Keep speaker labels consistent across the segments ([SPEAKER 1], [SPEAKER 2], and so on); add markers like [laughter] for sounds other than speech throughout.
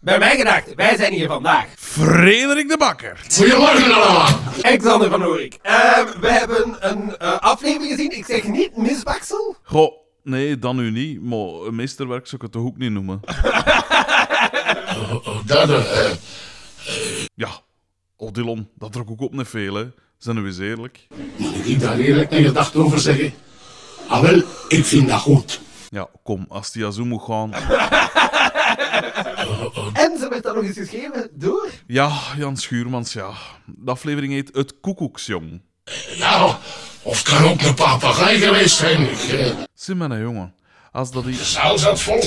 [SPEAKER 1] Bijgedacht, wij zijn hier vandaag.
[SPEAKER 2] Frederik de Bakker.
[SPEAKER 3] Goedemorgen allemaal.
[SPEAKER 1] Alexander van Oerik. Ehm, we hebben een eh, aflevering gezien. Ik zeg niet misbaksel.
[SPEAKER 2] Goh, nee, dan nu niet, maar een meesterwerk zou ik het toch ook niet noemen.
[SPEAKER 3] Oh, dat, eh,
[SPEAKER 2] Ja, Odilon, dat trok ook op net veel, hè. Zijn we eens eerlijk?
[SPEAKER 3] moet ik daar eerlijk mijn gedachten over zeggen? Ah wel, ik vind dat goed.
[SPEAKER 2] Ja, kom, als die zo moet gaan...
[SPEAKER 1] En ze werd dan nog eens geschreven door...
[SPEAKER 2] Ja, Jan Schuurmans, ja. De aflevering heet Het Koekoeksjong.
[SPEAKER 3] Ja, of het kan ook een papegaai geweest zijn. Ik, eh,
[SPEAKER 2] Zie maar, hè, jongen. Als dat
[SPEAKER 3] de
[SPEAKER 2] iets...
[SPEAKER 3] zaal zat vol.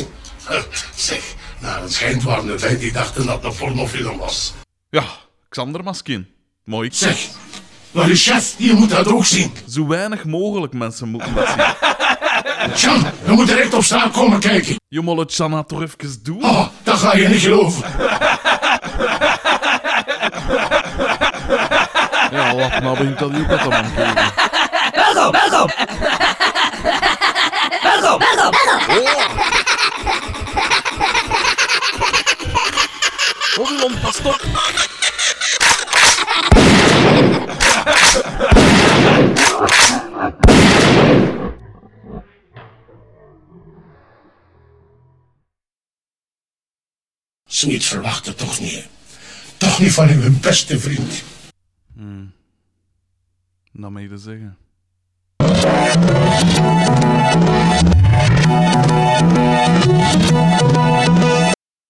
[SPEAKER 3] Eh, Zeg, nou het schijnt waren er vijf die dachten dat het een pornofilm was.
[SPEAKER 2] Ja, Xander Maskin. Mooi.
[SPEAKER 3] Zeg, maar de chef, die moet dat ook zien.
[SPEAKER 2] Zo weinig mogelijk mensen moeten dat zien.
[SPEAKER 3] Jan, je moet direct op staan komen kijken.
[SPEAKER 2] Je moet het Shanna toch even doen?
[SPEAKER 3] Oh, dat ga je niet geloven.
[SPEAKER 2] Ja, laat maar, begint dat hier ook wat aan mijn keuken.
[SPEAKER 1] Welkom, welkom! [laughs] welkom, welkom!
[SPEAKER 2] Odilon, pas op!
[SPEAKER 3] Zoiets verwachten toch niet, hè? Toch niet van uw beste vriend.
[SPEAKER 2] Nou, Dat mee te zeggen.